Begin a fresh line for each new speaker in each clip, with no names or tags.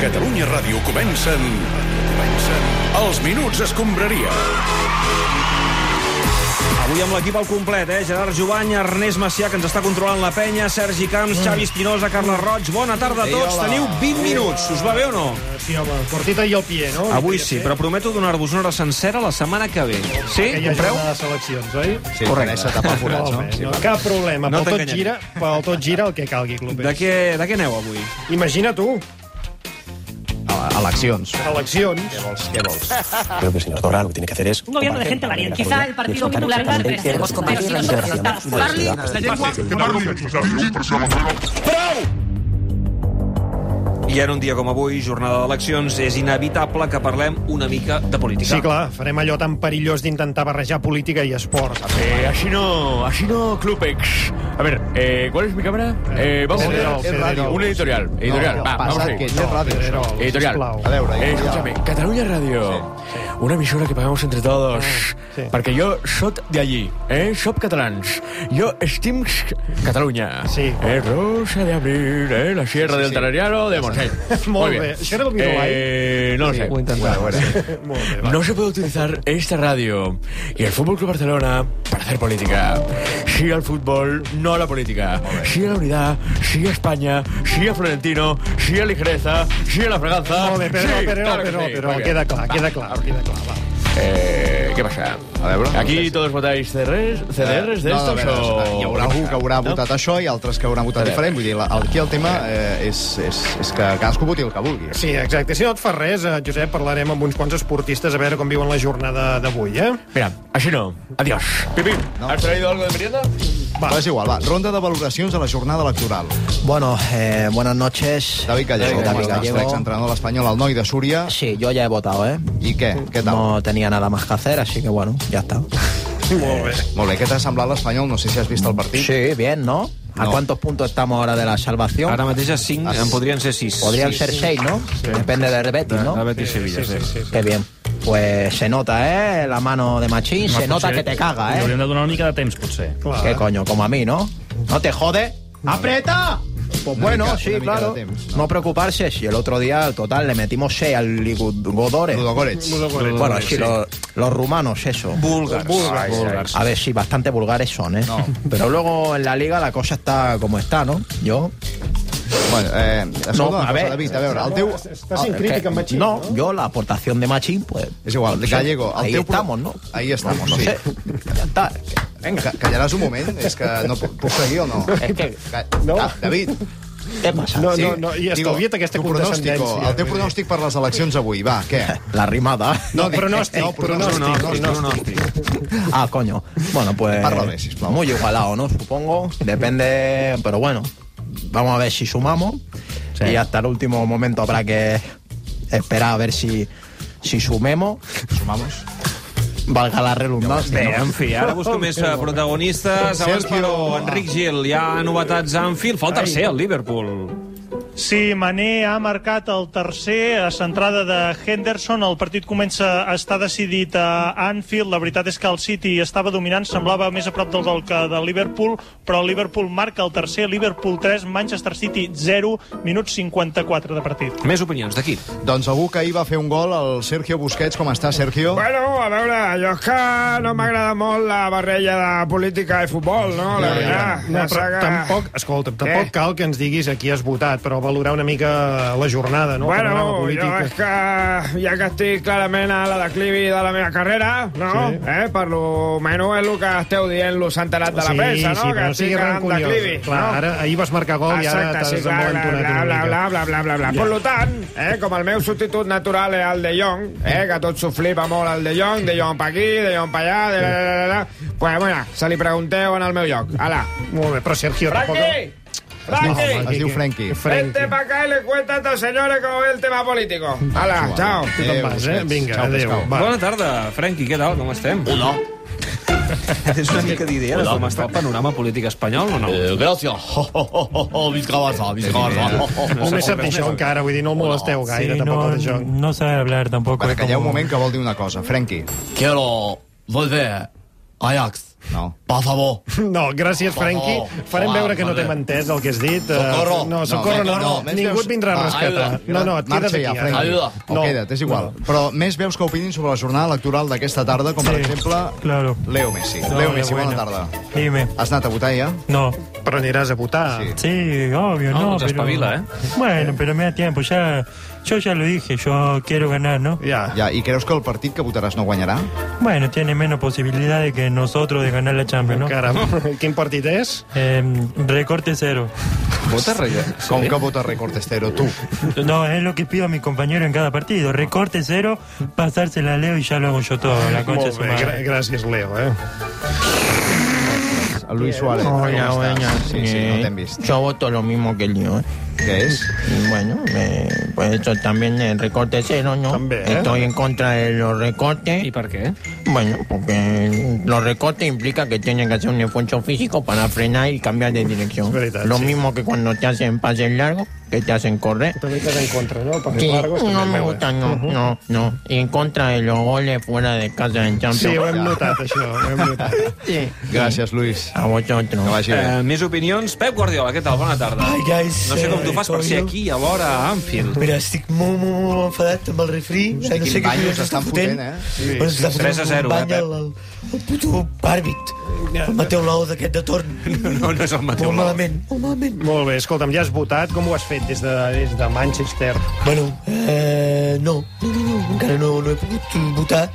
Catalunya Ràdio comencen... comencen... Els Minuts Escombraria.
Avui amb l'equip al complet, eh? Gerard Jovany, Ernest Macià, que ens està controlant la penya, Sergi Camps, Xavi Espinosa, Carles Roig. Bona tarda a tots. Teniu 20 minuts. Us va bé o no?
Sí, home, el cortita i el pie, no?
Avui sí, però prometo donar-vos una hora sencera la setmana que ve. Sí?
Aquella
Compreu?
jornada de seleccions, oi?
Sí, Correcte. tapar forats, no?
Molt bé,
Sí,
no,
va.
cap problema.
No
No pel, tot
t'enganyaré.
gira, pel tot gira el que calgui, Clopés.
De què, de què aneu avui?
Imagina tu,
A- Eleccions.
eleccions.
Què vols?
Creo que el señor Torra lo que tiene que hacer es... Un
gobierno de gente valiente. Quizá el Partido Popular gane, pero hemos compartido nosotros los datos.
I en un dia com avui, jornada d'eleccions, és inevitable que parlem una mica de política.
Sí, clar, farem allò tan perillós d'intentar barrejar política i esport.
Eh, así no, así no, Clupex. A ver, eh, ¿cuál es mi cámara? Eh, vamos a
Pedrerol,
hacer
Pedrerol.
un editorial. Editorial, va, vamos a
Passat
ver.
que ets de ràdio.
Pedrerol,
Editorial.
sisplau.
A veure,
Eh,
ja.
escúchame, Cataluña Radio, una emisora que pagamos entre todos,
sí.
porque yo sóc de allí, eh, sóc catalans, yo estim Cataluña,
Sí.
eh, Rosa de Abril, eh, la Sierra del Talariano de Montseny.
Molt bé. Això era el Miralai?
Eh, no lo sé.
Bueno, bueno.
Eh, Molt bé, va.
No se puede utilizar esta radio y el Fútbol Club Barcelona para hacer política. Sí al fútbol, no a la política. Sí a la unidad, sí a España, sí a Florentino, sí a ligereza, sí a la freganza.
Molt bé, però,
sí,
però,
claro que
però,
sí.
però,
Muy bien.
queda clar,
Va.
queda clar, queda clar, va.
Eh, ¿Qué pasa?
A veure.
Aquí todos votáis CDRs, CDRs de
No, a
estos
veure,
o...
Hi haurà algú que haurà votat això i altres que hauran votat diferent. Vull dir, la- aquí el tema eh, és, és, és que cadascú voti el que vulgui.
Sí, exacte. Si no et fa res, eh, Josep, parlarem amb uns quants esportistes a veure com viuen la jornada d'avui, eh?
Mira, así no. Adiós. Pipi,
No.
¿has traído algo de merienda?
Va. Però és igual, va. Ronda de valoracions a la jornada electoral.
Bueno, eh, buenas noches.
David Gallego,
David
com estàs?
Gallego.
L'exentrenador de l'Espanyol, el noi de Súria.
Sí, yo ya he votado, ¿eh?
I què? Què tal?
No tenía nada más que hacer, así que bueno, ya está.
Molt bé.
Molt bé, què t'ha semblat l'Espanyol? No sé si has vist el partit.
Sí, bien, ¿no? ¿A
No.
cuántos puntos estamos ahora de la salvación?
Ara mateix a 5, en podrien ser 6.
Podrían ser seis, ¿no? Depende del Betis,
La
¿no?
Betis Sevilla, sí.
Qué bien. Pues se nota, ¿eh? La mano de Machín, se nota que te caga,
Li
¿eh?
hauríem de donar una mica de temps, potser.
Clar.
Qué coño, como a mí, ¿no? No te jode. ¡Aprieta! Pues
Una
bueno,
mica-
sí,
una mica
claro.
de temps,
no.
no.
preocuparse, si el otro día, total, le metimos 6 al Ligodore.
Ludogorets.
Bueno, sí, los, los rumanos, eso.
Búlgars.
Búlgars.
Búlgars.
A ver, sí, bastante vulgares son, ¿eh?
No.
Pero luego en la liga la cosa está como está, ¿no? Yo...
Bueno, eh, escolta,
No,
una
a
cosa,
veure.
David, a veure, el teu...
Estàs sent
ah, que-
Eh,
crític amb Machín,
no,
no?
yo la aportación de Machín, pues...
És igual, Gallego, el
Ahí
teu... pro-
estamos, ¿no?
Ahí estamos,
No
sí.
sé, ya está.
Ca- Callaràs un moment? És que no puc, puc seguir o no?
Es que,
Ca-
No.
Ah, David,
¿qué pasa?
No, no, no, i estalvia't aquesta
tu pronòstico,
condescendència.
El teu pronòstic per les eleccions avui, va, què?
La rimada.
No,
dic-
pronòstic,
no, pronòstic,
pronòstic,
no,
pronòstic.
Ah, coño. Bueno, pues...
Párlame, sisplau.
Muy igualado, ¿no? Supongo. Depende... Pero bueno, vamos a ver si sumamos. Y hasta el último momento habrá que esperar a ver si, si sumemos.
Sumamos.
Valga la redundancia.
Bé,
¿no?
en fi, ara busco més eh, protagonistes. Abans,
Sergio.
però, Enric Gil, hi ha novetats a Anfield. Fa el tercer, el Liverpool.
Sí, Mané ha marcat el tercer a centrada de Henderson. El partit comença a estar decidit a Anfield. La veritat és que el City estava dominant, semblava més a prop del gol que del Liverpool, però el Liverpool marca el tercer, Liverpool 3, Manchester City 0, minut 54 de partit.
Més opinions d'aquí.
Doncs algú que ahir va fer un gol, el Sergio Busquets, com està, Sergio?
Bueno, a veure, jo és que no m'agrada molt la barrella de política i futbol, no? La veritat.
No, però tampoc, escolta'm,
Eh.
tampoc cal que ens diguis a qui has votat, però valorar una mica la jornada, no? El panorama
Bueno,
polític.
jo eh, és que ja que estic clarament a la declivi de la meva carrera, no?
Sí.
Sí. Eh, per lo menys és el que esteu dient los enterat de la premsa, no?
sí,
que
però no
estic
sigui
en
rancuniós.
declivi,
Clar,
no?
ara, ahir vas marcar gol i ara
Exacte,
t'has
sí, clar, bla,
envalentonat
bla,
una
bla,
mica.
bla, bla, bla, bla, bla.
Ja.
Per lo tant, eh, com el meu substitut natural és el de Jong, eh, que tot s'ho flipa molt el de Jong, de Jong pa aquí, de Jong pa allà, de la, la, la, la. Pues, bueno, se li pregunteu en el meu lloc. Ala.
Molt bé, però Sergio,
Franqui!
No,
Franqui!
es diu Frenkie.
Franqui.
Vente pa acá y le cuenta a estos señores cómo es el tema político. Hala, chao.
Ah, Tu te'n vas, eh?
Busquets.
Vinga,
Ciao,
adéu.
pescau.
Va.
Bona tarda, Frenqui, què tal? Com estem?
No.
Tens una mica d'idea de com està el panorama polític espanyol o no?
gracias. Eh, Visca Barça, visca Barça.
Només sap això encara, vull dir, no el molesteu gaire, tampoc, el de joc.
no sabe hablar tampoco.
Bueno, calleu un moment que vol dir una cosa. Frenkie.
Quiero volver Ajax.
No.
Por favor.
No, gràcies,
Oh,
Frenkie. Farem
oh,
veure que no
vale.
t'hem entès el que has dit. Eh,
Socorro.
No, socorro no.
venga,
no,
més
Ningú
veus-
et vindrà a
Va,
rescatar.
ajuda.
No, no, et
Marxa
quedes aquí.
ja,
eh?
Frenkie.
Ayuda.
O no. queda't, és igual. No. Però més veus que opinin sobre la jornada electoral d'aquesta tarda, com per
Sí,
exemple
claro.
Leo Messi.
No,
Leo Messi,
bueno.
bona tarda.
Dime.
Has anat a votar ja?
No.
Però aniràs a votar.
Sí.
Sí, obvio, no.
No, pues
pero...
espabila, ¿eh?
Bueno, pero me da tiempo. Ya, yo ya lo dije, yo quiero ganar, ¿no?
Ja.
Ja, i creus que el partit que votaràs no guanyarà?
Bueno, tiene menos posibilidades que nosotros de ganar la Champions, ¿no?
Caram, quin partit és?
Eh, recorte cero.
Vota re... Com que vota Recortestero, tu?
No, es lo que pido a mi compañero en cada partido. Recorte cero, pasársela a Leo y ya lo hago yo todo, la concha de
Molt
su
bé,
madre.
gra- gràcies, Leo. Eh?
El Luis Suárez.
No,
com
ya,
estàs?
bueno.
Sí, sí, no
Eh,
t'hem vist.
Yo voto lo mismo que el mío, ¿eh?
Què és?
Y bueno, eh, pues eso también el recorte cero, ¿no?
También.
¿eh?
Estoy en contra de los recortes.
¿Y por qué?
Bueno, porque los recortes implica que tienen que hacer un esfuerzo físico para frenar y cambiar de dirección.
Es verdad,
Lo
sí.
mismo que cuando te hacen pases largos, que te hacen correr.
També estàs en contra, no? Per
Sí,
Largos,
no
també,
me
eh?
gusta, no, no, no. Y en contra de los goles fuera de casa en
Sí, ho
Champions.
hem notat, això. Ho hem notat.
Sí.
Gràcies, Luis.
A vosotros.
Que vagi bé.
Eh, més opinions. Pep Guardiola, què tal? Bona tarda.
Hi, guys.
No sé com
Eh,
tu fas per
com
ser
jo?
aquí, a l'hora, a Anfield.
Mira, estic molt, molt, molt enfadat amb el refri. No sé,
quin
què
bany
collons
us estan fotent, eh?
Sí. Bueno, s'està fotent
3 a 0,
un bany
eh, Pep?
al- al, al puto àrbit. El Mateu Lao d'aquest de torn.
No, no és el Mateu
Molt
Lao.
malament, molt malament.
Molt bé, escolta'm, ja has votat. Com ho has fet des de, des de Manchester?
Bueno, eh, no, no, no, no, encara no, no he pogut votar.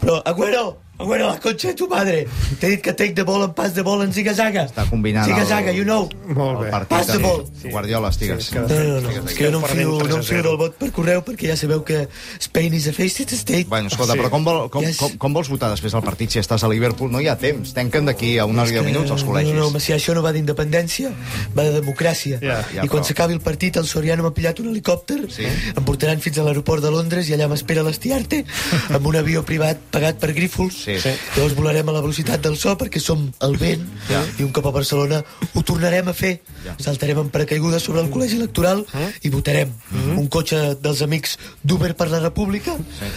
Però, Agüero, Agüero, la conxa de tu madre. T'he dit que take the ball en pas de ball en ziga-zaga.
Està combinant el-
Ziga-zaga, you know.
Molt
El
bé.
partit
Passa
de-
molt.
Guardiola, estigues.
que-
No, no, no, és que jo no em fio,
Perdent 3 a
no em fio
0.
del vot per correu perquè ja sabeu que Spain is a faceless state.
Bueno, escolta, però com, vol, com,
Yes.
com, com vols votar després del partit si estàs a Liverpool? No hi ha temps, tanquen d'aquí a una hora i deu minuts els col·legis.
Eh, No, no, si això no va d'independència, va de democràcia.
Ja,
ja,
I quan
però-
s'acabi el partit, el Soriano m'ha pillat un helicòpter,
Sí.
em portaran fins a l'aeroport de Londres i allà m'espera l'Estiarte amb un avió privat pagat per Grífols.
Sí. Sí.
Llavors volarem a la velocitat del so perquè som el vent
Ja.
i un cop a Barcelona ho tornarem a fer. Saltarem en paracaiguda sobre
Mm.
el col·legi electoral i votarem.
Mm-hmm.
Un cotxe dels amics d'Uber per la República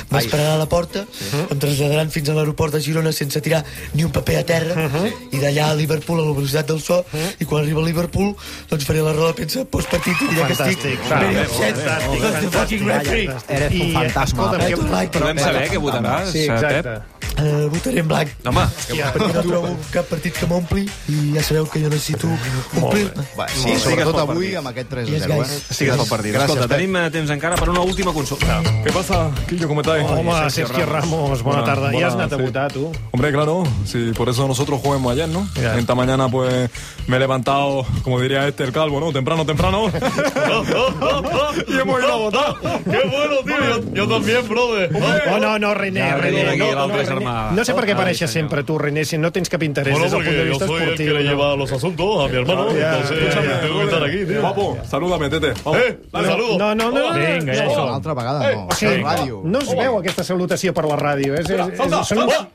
m'esperarà a la porta,
Mm-hmm.
em traslladaran fins a l'aeroport de Girona sense tirar ni un paper a terra
Mm-hmm.
i d'allà a Liverpool a la velocitat del so i quan arriba a Liverpool doncs faré la roda de premsa postpartit i diré que estic
Fantàstic.
very
Fantàstic.
upset because the fucking referee
Eres un
I,
fantasma.
escolta'm,
I don't
que...
like
Podem
it.
saber què votaràs,
Sí,
Pep?
exacte.
Eh, votaré en blanc
Home,
perquè no trobo cap partit que m'ompli i ja sabeu que jo necessito omplir-me
Va,
Molt
sí,
bé.
sobretot
Estigues pel
avui
partit.
amb aquest 3 a
Yes,
0. Eh?
guys.
estigues pel partit.
Gràcies,
Escolta,
Pep.
tenim eh, temps encara per una última consulta.
¿Qué pasa, Quillo? ¿Cómo estáis?
Home, Sergio Ramos, bona tarda. Ja has anat a votar, tu?
Hombre, claro, sí, por eso nosotros jugamos ayer, ¿no?
Ya.
Esta mañana, pues, me he levantado, como diría este, el calvo, ¿no? Temprano, temprano. y hemos ido a votar. ¡Qué bueno, tío! Yo, también, brother.
Oh, no, no, René,
Ja,
René.
aquí
No, no,
l'altre
René.
germà.
no sé per què
Ai,
apareixes
senyor.
sempre tu, René, si no tens cap interès des del punt de vista esportiu. no.
los asuntos a mi hermano.
entonces, tengo que estar
aquí, tío. Papo, salúdame, tete. ¡Eh! ¡Dale, saludo!
No, no, no.
Venga, ya
Una altra vegada, no. Això és ràdio.
No es veu aquesta salutació per la ràdio. eh? És, és, és, són, uns,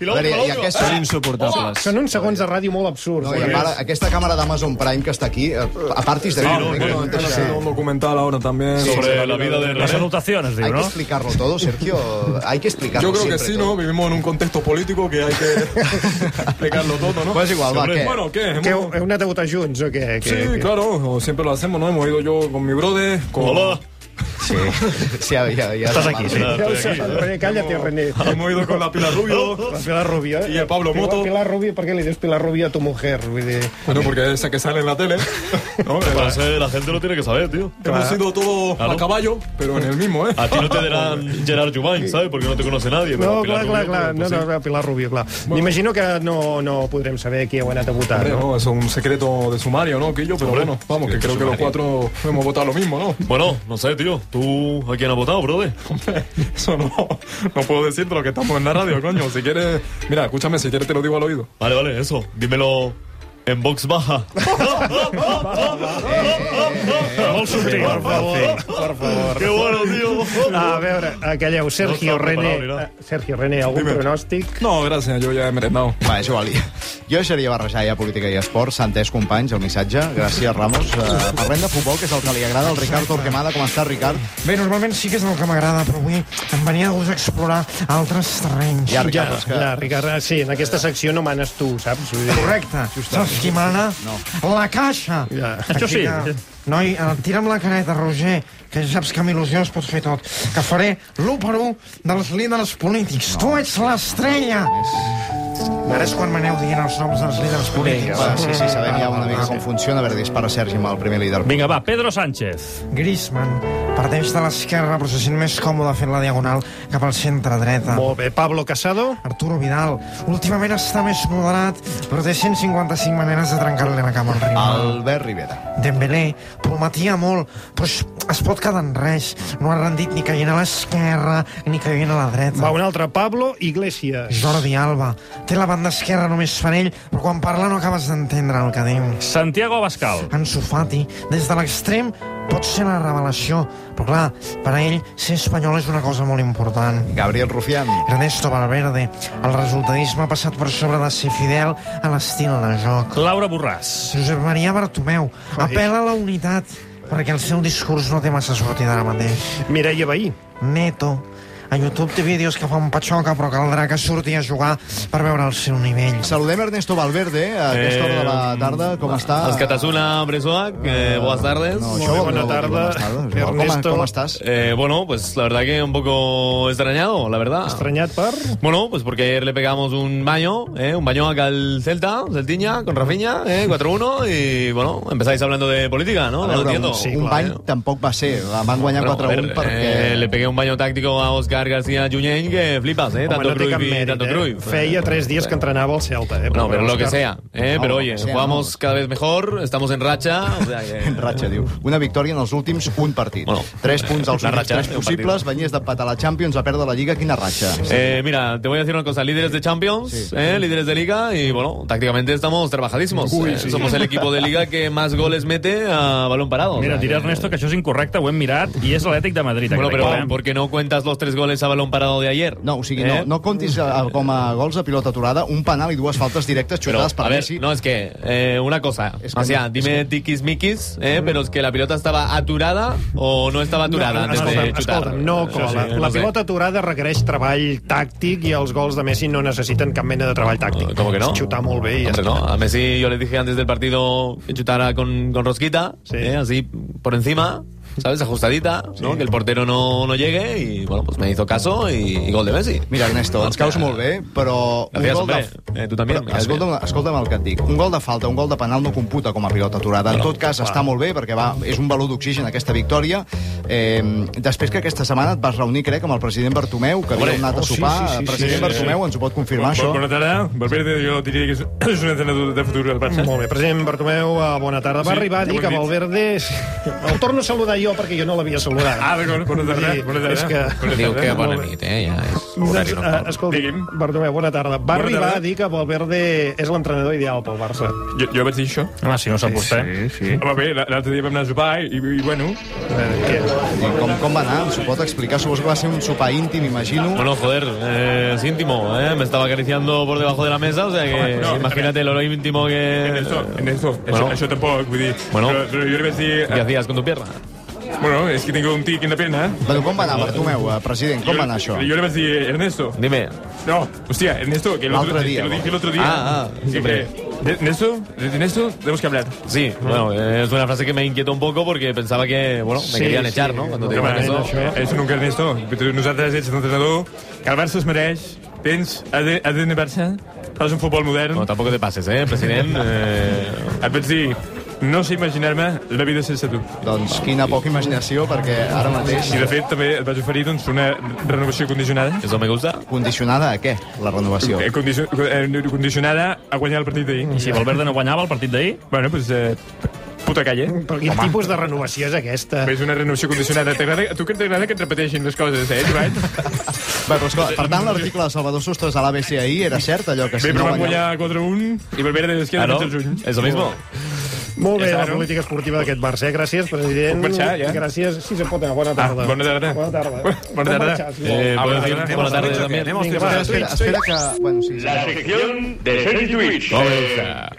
Y
A veure, i aquesta...
Són insuportables.
són uns segons de ràdio molt absurds. eh?
No, i a part, aquesta càmera d'Amazon Prime que està aquí, eh, apartis d'aquí.
no, no,
perquè eh, no,
están
no,
haciendo un documental ahora también sobre la vida de
Las anotaciones,
Hay que explicarlo todo, Sergio. Hay que explicarlo
Yo creo que
siempre
sí,
todo.
¿no? Vivimos en un contexto político que hay que explicarlo todo, ¿no?
Pues igual, va,
Hombre,
¿qué?
Eh,
Bueno, ¿qué?
Que heu,
Hemos-
heu anat a votar junts o què?
Sí,
què, què?
claro, o siempre lo hacemos, ¿no? Hemos ido yo con mi brother, con... Hola.
Sí, sí, ja, ja, ja Estàs aquí, sí.
Ja ho saps, René, calla't, René.
Hemos ido con la Pilar Rubio.
La Pilar Rubio, eh?
I el Pablo
Pilar-
Moto.
Pilar Rubio, per què li dius Pilar Rubio a tu mujer? Vull dir...
Bueno, porque esa que sale en la tele. ¿no?
la gente lo tiene que saber, tío.
Hemos ido todos a caballo, pero en el mismo, ¿eh?
A ti no te darán Gerard Jumain, ¿sabes? Porque no te conoce nadie.
No, clar, clar, clar.
pues
No, no, no, Pilar Rubio, clar. M'imagino que no, no podrem saber qui heu anat a votar,
Hombre,
no?
no, eso es un secreto de sumario, ¿no? Que yo, pero bueno, vamos, que creo que los cuatro hemos votado lo mismo, ¿no?
Bueno, no sé, tío. ¿Tú a quién has votado, brother?
Hombre, eso no, no puedo decirte lo que estamos en la radio, coño. Si quieres, mira, escúchame, si quieres te lo digo al oído.
Vale, vale, eso. Dímelo
en box baja.
Molt subtil.
Per favor, per favor.
Qué bueno, tío.
A veure, aquelleu,
No
Sergio
estava
René...
preparat, mira.
eh, Sergio René, algun
Dime.
pronòstic?
No, gracias, yo ya he merendado.
Va, és igual. Jo deixaria barrejar ja política i esport. S'ha entès, companys, el missatge. Gràcies, Ramos. Uh, parlem de futbol, que és el que li agrada al Ricard Torquemada. Com està, Ricard?
Bé, normalment sí que és el que m'agrada, però avui em venia de gust explorar altres terrenys.
Ja, Ricard, doncs, és que...
Ja, Ricard, ah, sí, en aquesta secció no manes tu, saps? Vull dir-
Correcte. Saps qui mana? No. La caixa.
Ja.
Això sí. Que... Noi, eh, tira'm la caneta, Roger, que ja saps que amb il·lusió es pot fer tot. Que faré l'1 per 1 dels líders polítics. No. Tu ets l'estrella. Ara és quan m'aneu dient els noms dels líders polítics.
Va, sí, sí, sabem ja una mica com funciona. A veure, dispara Sergi amb el primer líder.
Vinga, va, Pedro Sánchez.
Griezmann parteix de l'esquerra, però se sent més còmode fent la diagonal cap al
Ah.
centre-dreta.
Molt bé, Pablo Casado.
Arturo Vidal. Últimament està més moderat, però té 155 maneres de trencar-li la cama al rival.
Albert Rivera.
Dembélé prometia molt, però es, es pot quedar en res. No ha rendit ni caient a l'esquerra ni caient a la
Ah.
dreta.
Va, un altre, Pablo Iglesias.
Jordi Alba. Té la banda esquerra només per ell, però quan parla no acabes d'entendre el que diu.
Santiago Abascal.
Ansu Fati, des de l'extrem, pot ser la revelació. Però clar, per a ell, ser espanyol és una cosa molt important.
Gabriel Rufián.
Ernesto Valverde. El resultadisme ha passat per sobre de ser fidel a l'estil de joc.
Laura Borràs.
Josep Maria Bartomeu apel·la a la unitat perquè el seu discurs no té massa sortida ara mateix.
Mireia Bahí.
Neto, a YouTube té vídeos que fan patxoca, però caldrà que surti a jugar per veure el seu nivell.
Saludem Ernesto Valverde a aquesta hora de la
Eh,
tarda. Com està?
Es Catasuna Bresoac, eh, buenas tardes.
No,
Molt
això
bé,
vol
bona
dir
tarda.
Buenas tardes. Igual, Com,
Ernesto.
com estàs?
Eh, bueno, pues la verdad que un poco extrañado, la verdad.
Estranyat per...
Bueno, pues porque ayer le pegamos un baño, ¿eh? un baño acá al Celta, Celtiña, con Rafinha, ¿eh? 4-1, y bueno, empezáis hablando de política, ¿no? No
A
lo
veure,
entiendo.
un, sí, un bany tampoc va ser. La van guanyar
eh. Bueno, a
4-1
ver,
perquè...
eh, le pegué un baño táctico a Oscar García Junyent que flipas, ¿eh?
Home,
Tanto
no té cap
Cruyff y
mèrit,
tanto
eh?
Cruyff.
Feia tres dies que entrenava el Celta, eh?
No, pero
bueno,
lo que
Òscar,
sea, ¿eh?
No,
pero
lo
oye,
que sea,
jugamos
no.
cada vez mejor, estamos en racha, o sea que...
En ratxa, diu. Una victòria en els últims un partit.
Bueno,
tres punts als
la
últims
ratxa,
tres
un
possibles. Venies d'empatar la Champions a perdre la Lliga. Quina ratxa.
Eh, mira, te voy a decir una cosa, líderes de Champions, ¿eh? líderes de liga y bueno, tácticamente estamos trabajadísimos. Eh, Somos el equipo de liga que más goles mete a balón parado. o
Mira,
sea
diré
que-
Ernesto que això és incorrecte, ho hem mirat, i és l'Atlètic de Madrid.
Bueno,
aquest
pero
equip, eh?
¿por qué no cuentas los tres goles a balón parado de ayer?
No, o sigui,
Eh?
no, no comptis a, a- com a gols a pilota aturada un penal i dues faltes directes
Pero,
xutades
a
per
ver,
Messi.
no, es que eh, una cosa,
Es que
o sea,
no,
dime tiquismiquis, eh, pero es que la pelota estaba aturada o no estaba aturada antes de
escolta'm,
chutar.
escolta'm, no
Eso
cola.
sí, no
la
sé.
pilota aturada requereix treball tàctic i els gols de Messi no necessiten cap mena de treball tàctic.
Eh, ¿Cómo que no?
És xutar molt bé i ja
Hombre,
està.
no. A Messi yo le dije antes del partido que chutara con, con rosquita,
Sí.
¿eh? así por encima, ¿sabes? Ajustadita, ¿no? Que el portero no, no llegue y, bueno, pues me hizo caso y, y gol de Messi.
Mira, Ernesto, ens caus molt bé, però...
Gracias,
un gol de...
hombre. Eh, tu també, me caes
escolta'm, escolta'm el que et dic. Un gol de falta, un gol de penal no computa com a pilota aturada. En tot cas, està molt bé, perquè va, és un valor d'oxigen aquesta victòria. Eh, després que aquesta setmana et vas reunir, crec, amb el president Bartomeu, que havia
Hombre. Oh,
anat a sopar. president Bartomeu, ens ho pot confirmar, això?
tarda. Valverde yo diría que es un entrenador de futuro del Barça.
Molt bé, president Bartomeu, eh, bona tarda. Va
Sí,
arribar a dir
ja ho
que
hem dit.
Valverde... és- El torno a saludar jo perquè jo no l'havia saludat.
bueno,
Sí, és que...
Diu que bona
Molt bé.
nit, eh? Ja és
Doncs,
horari
eh,
nocturn.
escolta,
Digui'm.
Bartomeu, bona tarda. Va
Bona
arribar
tarda.
a dir que Valverde és l'entrenador ideal pel Barça.
Jo, jo vaig dir això.
Home, si no sap vostè.
Home, bé, l'altre dia vam anar a sopar i, i bueno...
I com, com va anar? Ens ho pot explicar? Suposo que va ser un sopar íntim, imagino.
Bueno, joder, eh, es íntimo, ¿eh? Me estaba acariciando por debajo de la mesa, o sea que imagínate lo íntimo que...
Eh,
En eso, eso,
Bueno.
eso tampoco, vull dir.
Bueno.
Però, però jo li vaig dir... "Ah,
¿Qué hacías con tu pierna?
Bueno, es que tengo un tic en la pierna, eh?
Bueno, com va anar, Bartomeu, eh, president? Com va anar això?
Jo li vaig dir, Ernesto...
Dime.
No, hostia, Ernesto, que el otro,
L'altre
te
dia,
lo
no?
dije el otro día.
Ah, ah,
Que-
siempre.
que- Ernesto, de Ernesto, tenemos que hablar.
Sí, bueno, eh, es una frase que me inquietó un poco porque pensaba que, bueno, me
Sí,
querían
sí,
echar, ¿no? Cuando te
Home,
digan eso.
això, això nunca eh?" és Ernesto. Nosaltres ets un entrenador que el Barça es mereix. Tens ADN Barça, fas un futbol modern.
Bueno, tampoco te pases, ¿eh, presidente? Eh,
Et vaig dir, no sé imaginar-me la vida sense tu.
Doncs quina poca imaginació, perquè ara mateix...
I de fet també et vaig oferir doncs, una renovació condicionada.
¿Eso me gusta?
Condicionada a què, la renovació?
Eh, condicio eh, condicionada a guanyar el partit d'ahir.
I si Valverde no guanyava el partit d'ahir?
Bueno, doncs... Eh, puta calle. Però
Quin tipus de renovació és aquesta?
És una renovació condicionada. T'agrada- A tu que t'agrada que et repeteixin les coses, eh, Joan?
Va, però escolta, per tant, l'article de Salvador Sostres a l'ABC ahir era cert, allò que
Bé, però van guanyar 4-1 i Valverde de l'esquena
Ah, no?
fins al juny.
És el mismo?
Molt bé,
Ja està,
la
no?
política esportiva d'aquest Barça. eh? Gràcies, president.
Puc marxar, ja?
Gràcies. Sí, se pot anar. Bona tarda.
Ah,
Ah,
bona tarda.
Bona tarda.
Bona tarda. Eh, bona tarda. Bona tarda, també.
Vinga, va,
Espera, espera que... Bueno, sí,
La secció de Sergi Twitch.
Com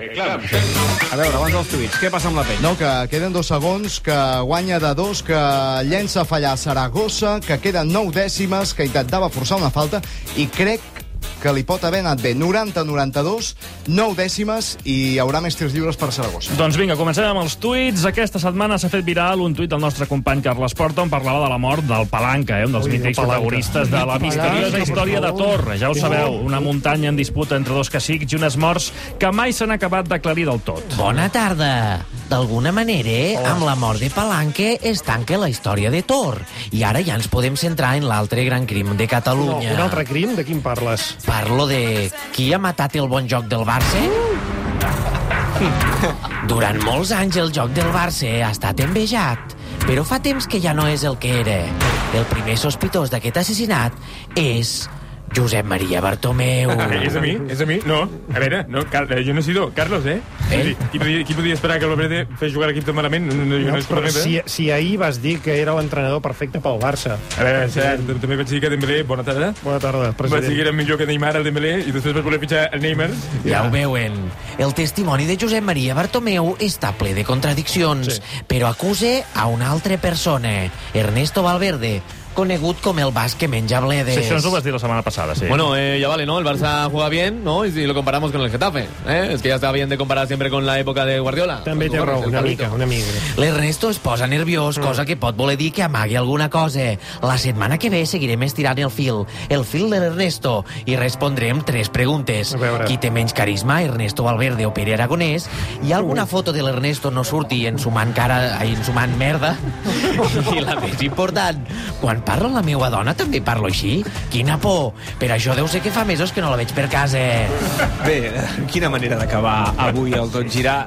A veure, abans dels tuits, què passa amb la pell?
No, que queden dos segons, que guanya de dos, que llença a fallar Saragossa, que queden nou dècimes, que intentava forçar una falta, i crec que li pot haver anat bé. 90-92, nou dècimes, i hi haurà més tirs lliures per Saragossa.
Doncs vinga, comencem amb els tuits. Aquesta setmana s'ha fet viral un tuit del nostre company Carles Porta on parlava de la mort del Palanca, eh, un dels
Ui, el
mítics
Palanca.
protagonistes de la
Palanca,
misteriosa
per
història de
favor.
Torre. Ja ho
Sí.
sabeu, una muntanya en disputa entre dos cacics i unes morts que mai s'han acabat d'aclarir del tot.
Bona tarda. D'alguna manera, amb la mort de Palanque es tanca la història de Tor. I ara ja ens podem centrar en l'altre gran crim de Catalunya.
No, un altre crim? De quin parles?
Parlo de qui ha matat el bon joc del Barça? Durant molts anys el joc del Barça ha estat envejat, però fa temps que ja no és el que era. El primer sospitós d'aquest assassinat és Josep Maria Bartomeu.
és a mi? És a mi? No. A veure, no, Car eh, jo no he sido Carlos, eh? eh? Qui, podia, qui podia esperar que el Valverde fes jugar l'equip tan malament? No, no, jo no,
No,
és
però
correcte.
si, si ahir vas dir que era l'entrenador perfecte pel Barça.
A veure, cert, també vaig dir que Dembélé, bona tarda.
Bona tarda, president.
Vaig dir que era millor que Neymar, el Dembélé, i després vaig voler fitxar el Neymar.
Ja ho veuen. El testimoni de Josep Maria Bartomeu està ple de contradiccions, sí. però acuse a una altra persona, Ernesto Valverde, conegut com el basc que menja bledes.
Sí, això ens ho vas dir la setmana passada, sí.
Bueno, eh, ya vale, ¿no? El Barça juega bien, ¿no? Y si lo comparamos con el Getafe, ¿eh? Es que ya está bien de comparar siempre con la época de Guardiola.
També
Con
té
Torres,
raó,
el
una
Carlito.
mica, una mica.
L'Ernesto es posa nerviós, cosa que pot voler dir que amagui alguna cosa. La setmana que ve seguirem estirant el fil, el fil de l'Ernesto, i respondrem tres preguntes. Qui té menys carisma, Ernesto Valverde o Pere Aragonès? Hi ha alguna foto de l'Ernesto no surti ensumant cara, ai, ensumant merda? I la més important, quan parlo amb la meva dona també parlo així? Quina por! Per això deu ser que fa mesos que no la veig per casa.
Bé, quina manera d'acabar avui el Tot Girar.